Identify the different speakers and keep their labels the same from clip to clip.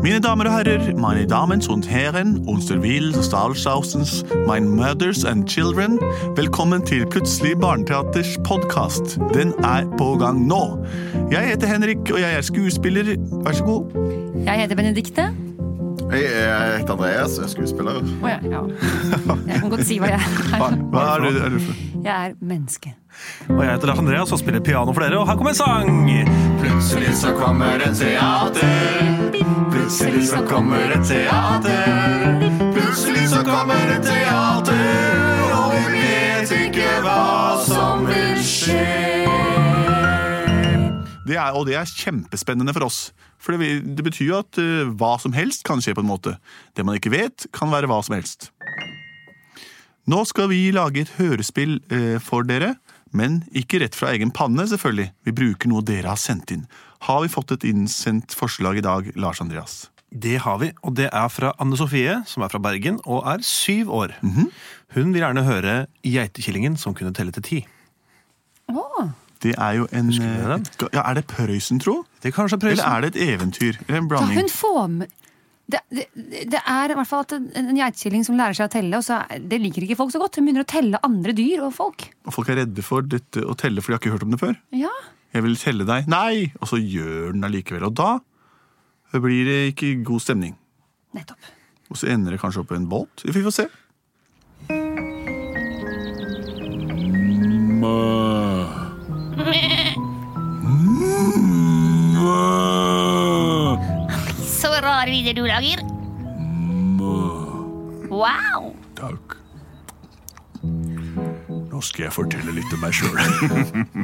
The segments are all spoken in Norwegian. Speaker 1: Mine damer og herrer, meine Damen und Herren, Unstervil, Stahlschausens, Mine Mothers and Children, velkommen til Plutselig barneteaters podkast. Den er på gang nå. Jeg heter Henrik, og jeg er skuespiller. Vær så god.
Speaker 2: Jeg heter Benedikte.
Speaker 3: Hei, jeg heter Andreas, jeg er skuespiller.
Speaker 2: Å ja, ja. Jeg kan godt si hva jeg er.
Speaker 1: Hva er du, er du for?
Speaker 2: Jeg er menneske.
Speaker 4: Og jeg heter Lars Andreas og spiller piano for dere, og her kommer en sang!
Speaker 3: Plutselig så kommer et teater. Plutselig så kommer et teater. Plutselig så kommer et teater, og vi vet ikke hva som vil skje.
Speaker 1: Det er, og det er kjempespennende for oss. For det, vil- det betyr jo at eh, hva som helst kan skje på en måte. Det man ikke vet, kan være hva som helst. Nå skal vi lage et hørespill eh, for dere, men ikke rett fra egen panne, selvfølgelig. Vi bruker noe dere har sendt inn. Har vi fått et innsendt forslag i dag, Lars Andreas?
Speaker 4: Det har vi, og det er fra Anne Sofie, som er fra Bergen og er syv år. Hun vil gjerne høre Geitekillingen som kunne telle til ti.
Speaker 2: Å,
Speaker 1: Det er jo en
Speaker 4: Husker dere
Speaker 1: eh,
Speaker 4: den?
Speaker 1: et ga- ja, Er det Prøysen, tro?
Speaker 4: Det er kanskje
Speaker 1: Eller
Speaker 4: prøysen.
Speaker 1: er det et eventyr? Eller en
Speaker 2: da
Speaker 1: blanding?
Speaker 2: hun får med det, det, det er i hvert fall at en, en geitekilling som lærer seg å telle, og så er, det liker ikke folk så godt. Hun begynner å telle andre dyr og folk.
Speaker 1: Og folk er redde for dette å telle, for de har ikke hørt om det før.
Speaker 2: Ja,
Speaker 1: Jeg vil telle deg. Nei! Og så gjør den allikevel. Og da blir det ikke god stemning.
Speaker 2: nettopp.
Speaker 1: Og så ender det kanskje opp i en båt. Vi får se.
Speaker 5: Så rar lyder du lager. Wow!
Speaker 1: Takk. Nå skal jeg fortelle litt om meg sjøl.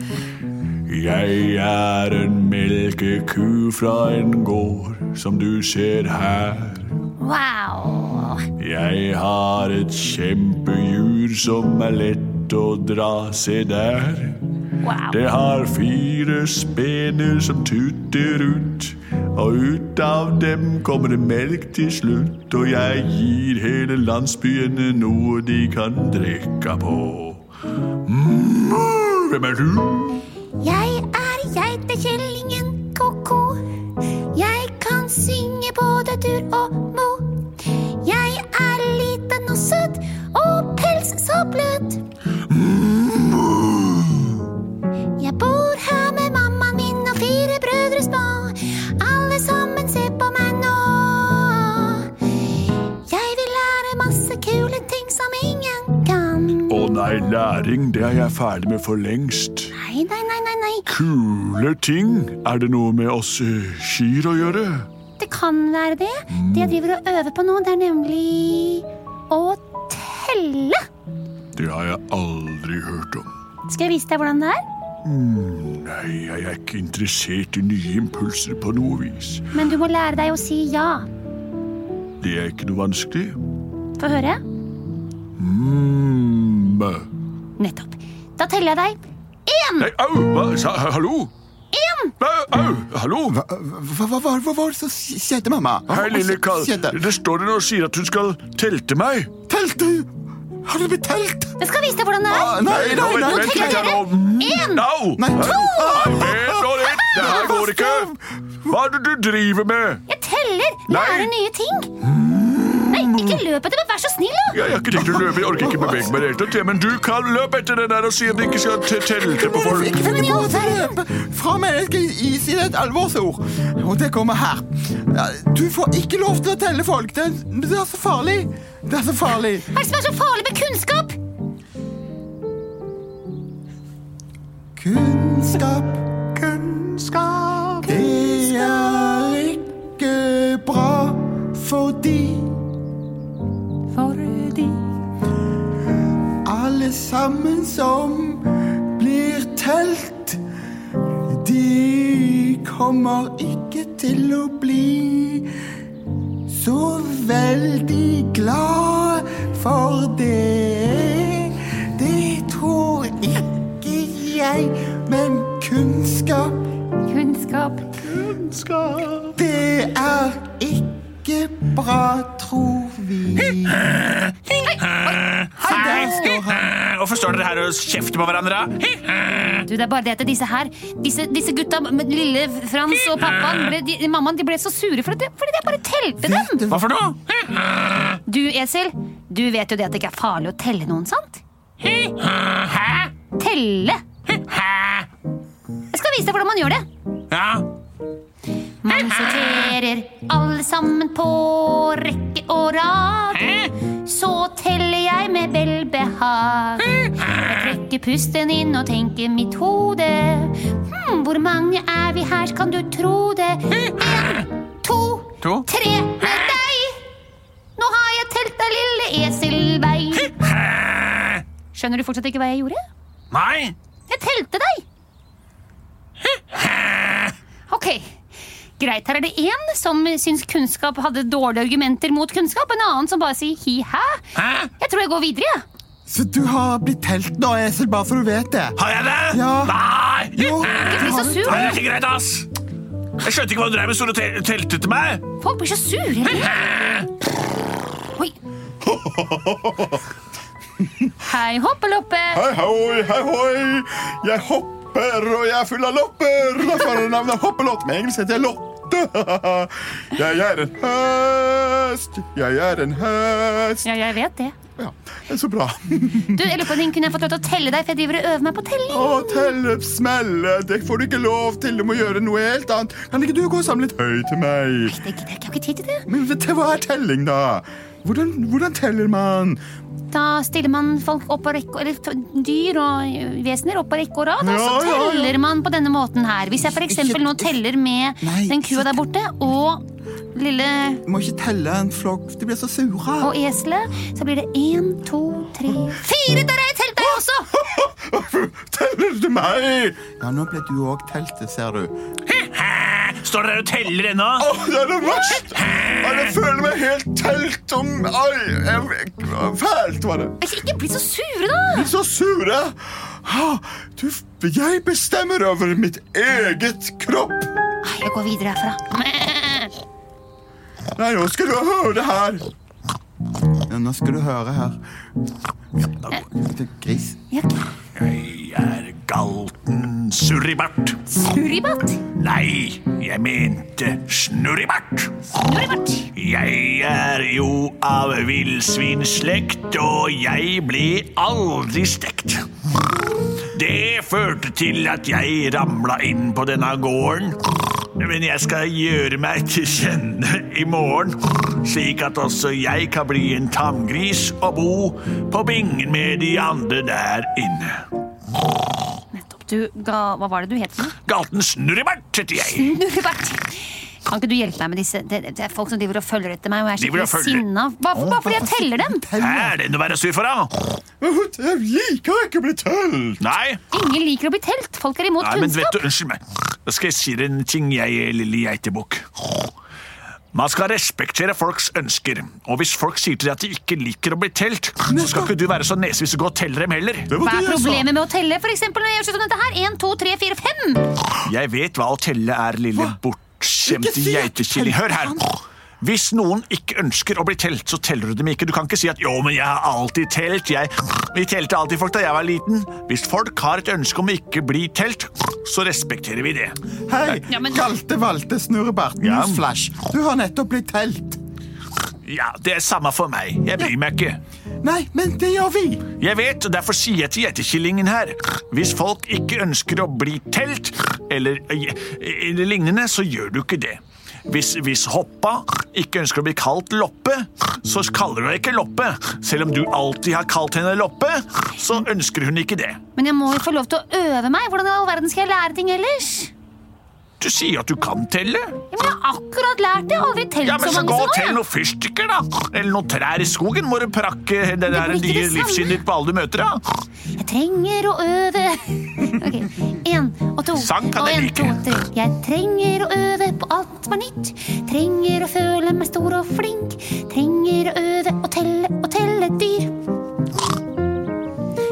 Speaker 1: jeg er en melkeku fra en gård, som du ser her.
Speaker 5: Wow!
Speaker 1: Jeg har et kjempejur som er lett å dra, se der.
Speaker 5: Wow!
Speaker 1: Det har fire spener som tuter ut, og ut av dem kommer det melk til slutt, og jeg gir hele landsbyene noe de kan drikke på. Mm, hvem er du?
Speaker 5: Jeg er geitekjellingen ko-ko. Jeg kan synge både dur og mo. Jeg er liten og søt, og pels så bløt. Jeg bor her med mammaen min og fire brødre små. Alle sammen se på meg nå. Jeg vil lære masse kule ting som ingen kan.
Speaker 1: Å nei, læring, det er jeg ferdig med for lengst.
Speaker 5: Nei, nei, nei, nei, nei.
Speaker 1: Kule ting, er det noe med oss eh, kyr å gjøre?
Speaker 5: Det kan være det. Det
Speaker 1: Mm.
Speaker 5: jeg driver og øver på nå, det er nemlig å telle.
Speaker 1: Det har jeg aldri hørt om.
Speaker 5: Skal jeg vise deg hvordan det er?
Speaker 1: Nei, jeg er ikke interessert i nye impulser på noe vis.
Speaker 5: Men du må lære deg å si ja.
Speaker 1: Det er ikke noe vanskelig.
Speaker 5: Få høre.
Speaker 1: Mm.
Speaker 5: Nettopp. Da teller jeg deg. Én!
Speaker 1: Nei, au! Hva? Sa, ha- hallo?
Speaker 5: Én!
Speaker 1: Au! au hallo?
Speaker 3: Hva, hva, hva, hva, hva var det som skjedde, mamma? Hva
Speaker 1: Hei,
Speaker 3: var det
Speaker 1: lille
Speaker 3: som
Speaker 1: kall.
Speaker 3: skjedde?
Speaker 1: Det står der og sier at hun skal telte meg.
Speaker 3: Telt, du! Har du blitt telt?
Speaker 5: Jeg skal vise deg hvordan det
Speaker 3: Ah,
Speaker 5: er.
Speaker 3: nei, nei, nei,
Speaker 5: Nå
Speaker 3: vent Ah,
Speaker 5: teller
Speaker 3: litt
Speaker 5: jeg
Speaker 1: her
Speaker 5: dere. Én!
Speaker 1: Au!
Speaker 3: Nei, to!
Speaker 1: Nei, vent nå litt! Det her går ikke! Hva er det du driver med?
Speaker 5: Jeg teller. Lærer nye ting. Nei, ikke løp etter meg. Vær så snill, da.
Speaker 1: Jeg har ikke tenkt å løpe, jeg orker ikke bevege meg i det hele tatt. jeg, Men du kan løpe etter den der og si at du ikke skal te- telte på
Speaker 3: Dere
Speaker 1: folk.
Speaker 3: fikk
Speaker 5: Men i
Speaker 3: finne på
Speaker 5: all
Speaker 3: å drepe. Fra menneske i sin et alvorsord. Og det kommer her. Du får ikke lov til å telle folk. Det, det er så farlig. Det er så farlig.
Speaker 5: Hva er det som er så farlig med kunnskap?
Speaker 3: Kunnskap, kunnskap Det er ikke bra fordi
Speaker 2: For de
Speaker 3: alle sammen som blir telt, de kommer ikke til å bli så veldig glad for det. Det tror ikke jeg, men kunnskap,
Speaker 2: kunnskap
Speaker 3: det er ikke bra, tror vi.
Speaker 5: Hei,
Speaker 1: Og forstår dere her og kjefter på hverandre?
Speaker 6: Du, det er bare det at disse her, disse, disse gutta, med lille Frans og pappaen, ble, de, mammaen, de ble så sure fordi det, fordi det bare telte dem.
Speaker 1: Hva for noe?
Speaker 6: Du, Esel, du vet jo det at det ikke er farlig å telle noen, sant? Telle. Jeg skal vise deg hvordan man gjør det.
Speaker 1: Ja,
Speaker 6: Man sorterer alle sammen på rekke og rad. Så teller jeg med velbehag. Jeg trekker pusten inn og tenker mitt hode. Hm, hvor mange er vi her, kan du tro det? En, to,
Speaker 1: To.
Speaker 6: tre med deg! Nå har jeg telt deg, lille eselvei. Skjønner du fortsatt ikke hva jeg gjorde?
Speaker 1: nei
Speaker 6: Jeg telte deg! Ok, greit. Her er det én som syns kunnskap hadde dårlige argumenter mot kunnskap. En annen som bare sier hi-hæ.
Speaker 1: Hæ?
Speaker 6: Jeg tror jeg går videre, jeg. Ja.
Speaker 7: Så du har blitt telt nå, Esel, bare for du vet det.
Speaker 1: Har jeg det?
Speaker 7: Ja.
Speaker 1: Nei!
Speaker 7: Jo,
Speaker 6: Ikke bli så sur.
Speaker 1: Nei, det er ikke greit, ass! Jeg skjønte ikke hva du drev med, så du tel- telte til meg.
Speaker 6: Folk blir så sure. eller? Oi. Hei, hoppeloppe.
Speaker 3: Hei hoi, hei hoi, jeg hopper og jeg er full av lopper. Derfor er navnet Hoppelott, men engelsk heter jeg Lotte. Jeg er en hest, jeg er en hest.
Speaker 6: Ja, jeg vet det.
Speaker 3: Ja, det er så bra.
Speaker 6: Du, jeg lurer på om Kunne jeg fått lov til å telle deg, for jeg driver og øver meg på telling?
Speaker 3: Å, telle, smelle, det får du ikke lov til. Du må gjøre noe helt annet. Kan ikke du gå og samle litt høy til meg?
Speaker 6: Det gidder jeg ikke. Jeg har ikke tid til det.
Speaker 3: Men vet du, hva er telling, da? Hvordan, hvordan teller man?
Speaker 6: Da stiller man folk opp på rekke Eller t- dyr og vesener opp på rekke og rad. Og så
Speaker 3: Ja, ja, ja.
Speaker 6: teller man på denne måten her. Hvis jeg f.eks. nå teller med
Speaker 7: Nei,
Speaker 6: den kua
Speaker 7: ikke-
Speaker 6: der borte og lille
Speaker 7: Du må ikke telle en flokk, de blir så sure.
Speaker 6: og eselet, så blir det én, to, tre Fire! Der har jeg telt deg også!
Speaker 3: Teller du meg?
Speaker 7: Ja, nå ble du òg telt, ser du.
Speaker 1: Står dere og teller ennå?
Speaker 3: Åh, det er det verst! Nei, Jeg føler meg helt telt om Ai, jeg, fælt var det.
Speaker 6: Ikke- Ikke bli så sure, da!
Speaker 3: Så sure! Ah, Du, jeg bestemmer over mitt eget kropp.
Speaker 6: Nei, Jeg går videre herfra.
Speaker 3: Nei, nå skal du høre det her.
Speaker 7: Ja, nå skal du høre her. Du Gris.
Speaker 1: Jeg er galten surribart.
Speaker 6: Suribart.
Speaker 1: Nei, jeg mente snurribart.
Speaker 6: Snurribart.
Speaker 1: Jeg er jo av villsvinslekt, og jeg ble aldri stekt. Det førte til at jeg ramla inn på denne gården. Men jeg skal gjøre meg til kjenne i morgen, slik at også jeg kan bli en tamgris og bo på bingen med de andre der inne.
Speaker 6: Nettopp. Du ga Hva var det du het for noe?
Speaker 1: Galten Snurribart heter jeg.
Speaker 2: Mm.
Speaker 6: Snurrebart. Kan ikke du hjelpe meg med disse? Det, det er folk som driver og følger etter meg, og jeg
Speaker 1: De vil
Speaker 6: er
Speaker 1: ha
Speaker 6: skikkelig
Speaker 1: følger.
Speaker 6: sinna. Bare, bare fordi jeg teller dem.
Speaker 1: Er det noe å være sur for, da?
Speaker 3: Jeg liker ikke å bli telt.
Speaker 1: Nei?
Speaker 6: Ingen liker å bli telt. Folk er imot
Speaker 1: Nei, men vet
Speaker 6: kunnskap.
Speaker 1: du, Unnskyld meg. Da skal jeg si deg en ting, jeg lille geitebukk. Man skal respektere folks ønsker. Og hvis folk sier til deg at de ikke liker å bli telt, så skal ikke du være så nesevis og gå og telle dem heller.
Speaker 6: Hva er problemet med å telle? For eksempel når jeg gjør sånn som dette her. En, to, tre, fire, fem.
Speaker 1: Jeg vet hva å telle er, lille bortskjemte geitekilling. Hør her. Hvis noen ikke ønsker å bli telt, så teller du dem ikke. Du kan ikke si at 'jo, men jeg har alltid telt'. Jeg, vi telte alltid folk da jeg var liten. Hvis folk har et ønske om å ikke bli telt, så respekterer vi det.
Speaker 7: Hei,
Speaker 6: Ja, men-
Speaker 7: kalte valte snurrebarten
Speaker 1: Ja.
Speaker 7: Flash. Du har nettopp blitt telt.
Speaker 1: Ja, Det er samme for meg. Jeg bryr meg ikke.
Speaker 7: Nei, men det gjør vi.
Speaker 1: Jeg vet, og derfor sier jeg til gjetekillingen her Hvis folk ikke ønsker å bli telt eller, eller lignende, så gjør du ikke det. Hvis, hvis hoppa ikke ønsker å bli kalt Loppe, så kaller du henne ikke Loppe. Selv om du alltid har kalt henne Loppe, så ønsker hun ikke det.
Speaker 6: Men jeg må jo få lov til å øve meg. Hvordan i all verden skal jeg lære ting ellers?
Speaker 1: Du sier at du kan telle.
Speaker 6: Ja, men jeg har akkurat lært det. Jeg har aldri telt
Speaker 1: Ja, men
Speaker 6: så
Speaker 1: så gå
Speaker 6: mange
Speaker 1: og
Speaker 6: som
Speaker 1: tell
Speaker 6: nå. jeg.
Speaker 1: noen fyrstikker, da. Eller noen trær i skogen må du prakke det der
Speaker 6: blir ikke
Speaker 1: nye
Speaker 6: det samme.
Speaker 1: livssynet ditt på alle du møter, da.
Speaker 6: Jeg trenger å øve. Ok, En og to.
Speaker 1: Sang kan
Speaker 6: og
Speaker 1: jeg
Speaker 6: en,
Speaker 1: like.
Speaker 6: to, tre. Jeg trenger å øve på alt som er nytt. Trenger å føle meg stor og flink. Trenger å øve og telle og telle dyr.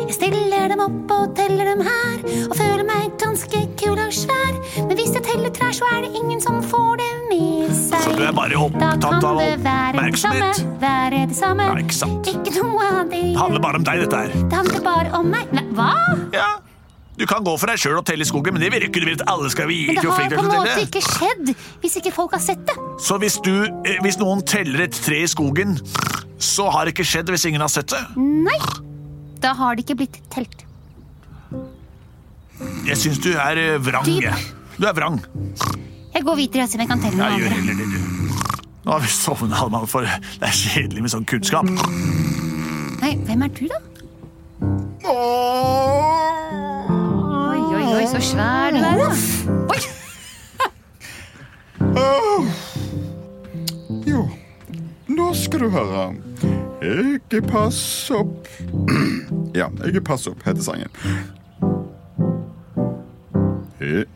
Speaker 6: Jeg stiller dem opp og teller dem her, og føler meg ganske kul og svær. Men hvis jeg teller trær, så er det ingen som får det med seg.
Speaker 1: Du er bare
Speaker 2: Da kan
Speaker 1: opptatt av
Speaker 2: det være det samme,
Speaker 1: oppmerksomhet.
Speaker 2: være det samme.
Speaker 1: Ja, ikke sant.
Speaker 2: Ikke
Speaker 1: Det
Speaker 2: noe annet.
Speaker 1: handler bare om deg, dette her.
Speaker 2: Det handler bare om meg. Nei, hva?
Speaker 1: Ja, Du kan gå for deg sjøl og telle i skogen, men det vil ikke du vil at alle skal vite.
Speaker 2: Men det
Speaker 1: hvor
Speaker 2: har
Speaker 1: flink du er
Speaker 2: på en
Speaker 1: til å
Speaker 2: måte
Speaker 1: telle.
Speaker 2: ikke skjedd hvis ikke folk har sett det.
Speaker 1: Så hvis, du, eh, hvis noen teller et tre i skogen, så har det ikke skjedd hvis ingen har sett det.
Speaker 2: Nei, da har det ikke blitt telt.
Speaker 1: Jeg syns du er eh, vrang.
Speaker 2: Dyp.
Speaker 1: jeg. Du er vrang.
Speaker 2: Jeg går videre og ser om jeg kan telle
Speaker 1: Jeg
Speaker 2: noen
Speaker 1: gjør
Speaker 2: andre.
Speaker 1: heller det, du. Nå har vi sovna, Alman, for det er kjedelig med sånn kunnskap.
Speaker 2: Nei, hvem er du, da? Oi, oi, oi, så svær du er, da. Oi,
Speaker 8: Jo, nå skal du høre. Ikke pass opp Ja, ikke pass opp, heter sangen. I-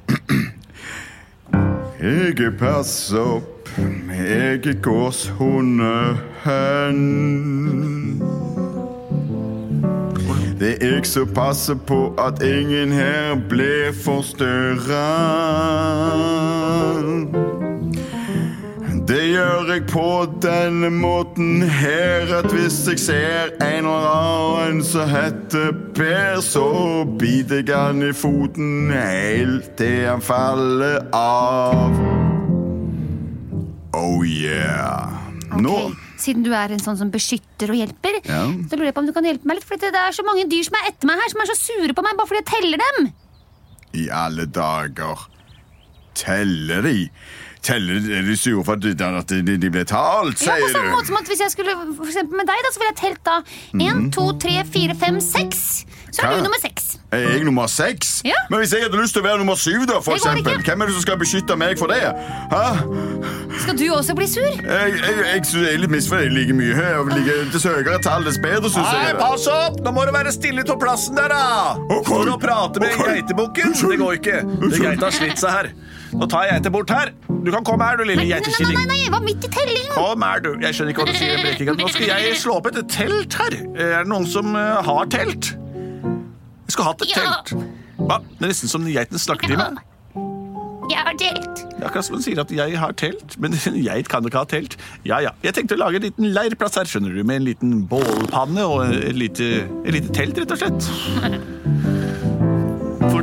Speaker 8: Ikke pass opp, ikke gåshunden. Det er jeg som passer på at ingen her blir forstyrra. Det gjør jeg på denne måten her at hvis jeg ser en eller annen som heter Per, så biter jeg han i foten helt til han faller av. Oh yeah. Nå
Speaker 2: Ok, Siden du er en sånn som beskytter og hjelper,
Speaker 8: Ja.
Speaker 2: så lurer jeg på om du kan hjelpe meg litt. For det er så mange dyr som er etter meg her, som er så sure på meg bare fordi jeg teller dem.
Speaker 8: i alle dager Teller de? Teller de, er de sure for at de- at de, de ble talt,
Speaker 2: Ja,
Speaker 8: sier
Speaker 2: på
Speaker 8: du?
Speaker 2: samme måte som at Hvis jeg skulle for eksempel med deg, da, så ville jeg telt da én, to, tre, fire, fem, seks. Så
Speaker 8: Hæ?
Speaker 2: er du nummer seks.
Speaker 8: Er jeg nummer seks?
Speaker 2: Ja.
Speaker 8: Men hvis jeg hadde lyst til å være nummer syv, da, for
Speaker 2: Det går
Speaker 8: eksempel,
Speaker 2: ikke.
Speaker 8: hvem er det som skal beskytte meg for det? Hæ?
Speaker 2: Skal du også bli sur?
Speaker 8: Jeg, jeg, jeg synes jeg er litt misfornøyd like mye. Jeg vil like, dess høyere tall, dess bedre, synes jeg. det.
Speaker 1: pass opp! Nå må du være stille på plassen der, da!
Speaker 8: Ok.
Speaker 1: Står og prater med
Speaker 8: Ok.
Speaker 1: geitebukken. Det går ikke. Det Geita har slitt seg her. Nå tar jeg geita bort her. Du kan komme her, du lille
Speaker 2: Nei, nei, nei, nei,
Speaker 1: geitekilling.
Speaker 2: nei, jeg var midt i tellingen.
Speaker 1: Kom her, du. Jeg skjønner ikke hva du sier. Blekinga. Nå skal jeg slå opp et telt her. Er det noen som eh, har telt? Vi skulle hatt et
Speaker 2: Ja.
Speaker 1: telt. Hva? Det er nesten som geiten snakker til meg.
Speaker 2: Jeg har telt.
Speaker 1: Det er akkurat som hun sier at jeg har telt, men en geit kan ikke ha telt. Ja, ja. Jeg tenkte å lage en liten leirplass her, skjønner du, med en liten bålpanne og et lite, et lite telt, rett og slett. For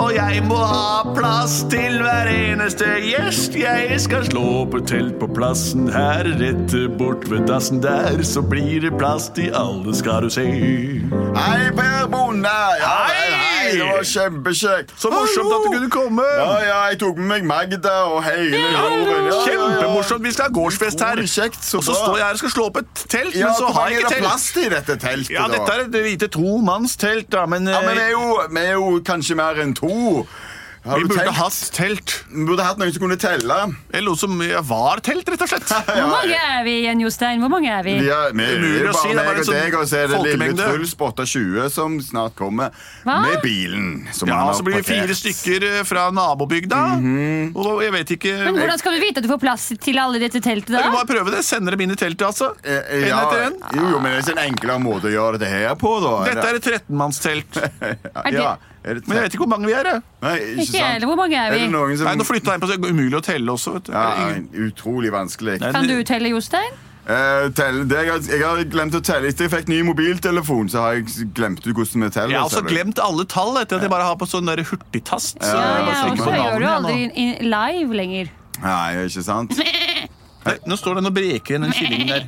Speaker 1: Og jeg må ha plass til hver eneste gjest. Jeg skal slå opp et telt på plassen her, rett bort ved dassen der. Så blir det plass til alle, skal du se.
Speaker 8: Hei, Per Bonde! Ja, hei, hei,
Speaker 1: Hei!
Speaker 8: det var kjempekjekt.
Speaker 1: Så morsomt at du kunne komme!
Speaker 8: Ja, ja, jeg tok med meg Magda og hele jorden. Ja, ja, ja.
Speaker 1: Kjempemorsomt. Vi skal ha gårdsfest her.
Speaker 8: Utrolig kjekt, så
Speaker 1: Og så
Speaker 8: bra.
Speaker 1: står jeg her og skal slå opp et telt,
Speaker 8: Ja,
Speaker 1: men så
Speaker 8: hvor
Speaker 1: har jeg
Speaker 8: mange er
Speaker 1: ikke
Speaker 8: det plass
Speaker 1: telt.
Speaker 8: til i dette teltet?
Speaker 1: Ja,
Speaker 8: da?
Speaker 1: dette er et lite tomannstelt, da, men
Speaker 8: Ja, men
Speaker 1: eh,
Speaker 8: vi er, jo, vi er jo kanskje mer enn to. Har
Speaker 1: vi
Speaker 8: du
Speaker 1: burde
Speaker 8: telt?
Speaker 1: hatt telt.
Speaker 8: Vi burde hatt noen som kunne telle.
Speaker 1: Eller noe som var telt, rett og slett.
Speaker 2: Hvor mange er vi igjen, Jostein? Hvor mange er vi?
Speaker 8: Vi er, vi,
Speaker 1: Umulig
Speaker 8: det er
Speaker 1: å si,
Speaker 8: bare
Speaker 1: det er bare
Speaker 8: meg og
Speaker 1: en sånn
Speaker 8: deg, og så er det lille
Speaker 1: folkemengde.
Speaker 8: Truls på 28 som snart kommer
Speaker 2: Hva?
Speaker 8: med bilen. Som han
Speaker 1: Ja,
Speaker 8: har
Speaker 1: så blir vi
Speaker 8: parkert.
Speaker 1: fire stykker eh, fra nabobygda. Og jeg vet ikke
Speaker 2: Men Hvordan skal du vite at du får plass til alle i dette teltet?
Speaker 1: Vi må
Speaker 2: da?
Speaker 1: bare prøve det. Sender dem inn i teltet, altså.
Speaker 8: Eh, eh,
Speaker 1: En
Speaker 8: ja,
Speaker 1: etter en.
Speaker 8: Jo, jo, men det er ikke en enklere måte å gjøre dette her på, da.
Speaker 1: Dette er et 13-mannstelt.
Speaker 8: ja,
Speaker 2: Er det-
Speaker 8: ja, er det
Speaker 1: Men jeg vet ikke hvor mange vi er. jeg.
Speaker 8: Nei,
Speaker 2: Ikke jeg heller. Hvor mange er
Speaker 8: Er det
Speaker 2: vi?
Speaker 8: noen som
Speaker 1: Nei, nå flytta jeg inn på så det er umulig å telle også. vet du.
Speaker 8: ja,
Speaker 1: Det er ingen-
Speaker 8: Utrolig vanskelig.
Speaker 1: Nei,
Speaker 2: Kan du telle, Jostein?
Speaker 8: Eh, tell, det, jeg, har- jeg har glemt å telle. Etter jeg fikk ny mobiltelefon, så har jeg s- glemt ut hvordan vi teller.
Speaker 1: Jeg har
Speaker 8: ser
Speaker 1: også
Speaker 8: du.
Speaker 1: glemt alle tall etter at jeg bare har på sånn der hurtigtast. Så
Speaker 2: Ja,
Speaker 1: jeg bare
Speaker 2: jeg
Speaker 1: trykker på
Speaker 2: også.
Speaker 1: navnet
Speaker 2: Jeg gjør det jo
Speaker 1: igjen nå.
Speaker 2: aldri in- live lenger.
Speaker 8: Nei, ikke sant?
Speaker 1: Nei, Nå står den og breker igjen, den killingen der.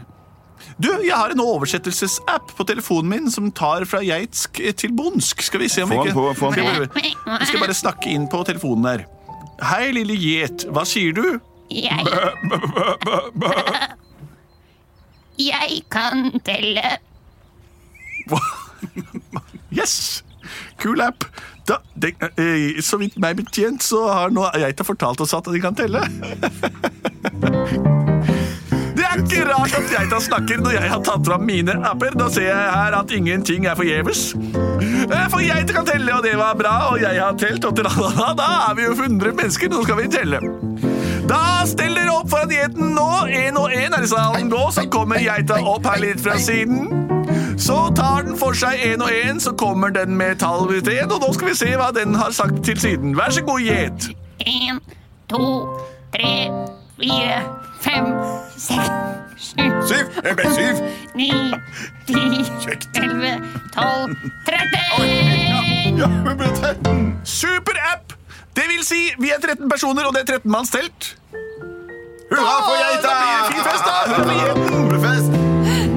Speaker 1: Du, Jeg har en oversettelsesapp på telefonen min som tar fra geitsk til bondsk. Skal vi se om
Speaker 8: Få
Speaker 1: vi
Speaker 8: den på, få den
Speaker 1: skal vi prøve? Jeg skal bare snakke inn på telefonen der. Hei, lille gjet. Hva sier du?
Speaker 2: Jeg Jeg kan telle.
Speaker 1: Yes! Kul app. Da, det, eh, så vidt meg betjent, så har nå geita fortalt oss at de kan telle. Det er ikke rart at geita snakker når jeg har tatt fram mine apper. Da ser jeg her at ingenting er forgjeves. Eh, For geita kan telle, og det var bra, og jeg har telt, og tralala, da er vi jo 100 mennesker, nå skal vi telle. Da steller dere opp foran gjeiten nå, én og én er i salen nå, så kommer geita opp her litt fra siden. Så tar den for seg én og én, så kommer den med tall ved én, og nå skal vi se hva den har sagt til siden. Vær så god, gjet.
Speaker 2: En, to, tre, fire, fem, seks, sju,
Speaker 8: Syv! Jeg ble syv!
Speaker 2: ni, ti, elleve, tolv, tretten!
Speaker 8: Ja, vi ble 13!
Speaker 1: Superapp! Det vil si, vi er 13 personer, og det er 13 manns telt.
Speaker 8: Hurra for geita!
Speaker 1: Da blir det fin fest, da! Hurra for geita!
Speaker 8: Julefest!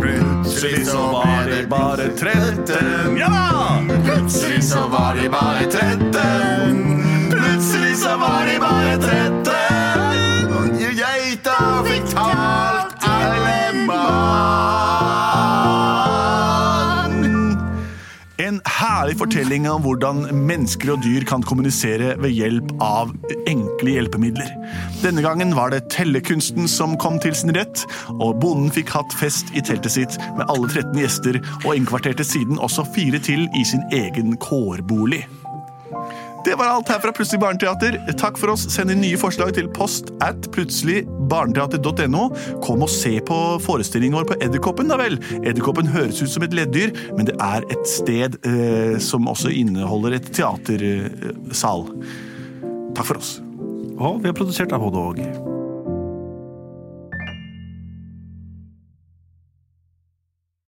Speaker 8: Plutselig så var de bare 13.
Speaker 1: Ja da!
Speaker 8: Plutselig så var de bare 13. Plutselig så var de bare 13. Og geita fikk talt alle mann.
Speaker 1: En herlig fortelling om hvordan mennesker og dyr kan kommunisere ved hjelp av enkle hjelpemidler. Denne gangen var det tellekunsten som kom til sin rett, og bonden fikk hatt fest i teltet sitt med alle 13 gjester, og innkvarterte siden også fire til i sin egen kårbolig. Det var alt her fra Plutselig barneteater. Takk for oss. Send inn nye forslag til post at plutseligbarneteater.no. Kom og se på forestillingen vår på Edderkoppen, da vel. Edderkoppen høres ut som et leddyr, men det er et sted eh, som også inneholder et teatersal. Takk for oss.
Speaker 4: Og vi har produsert av både og.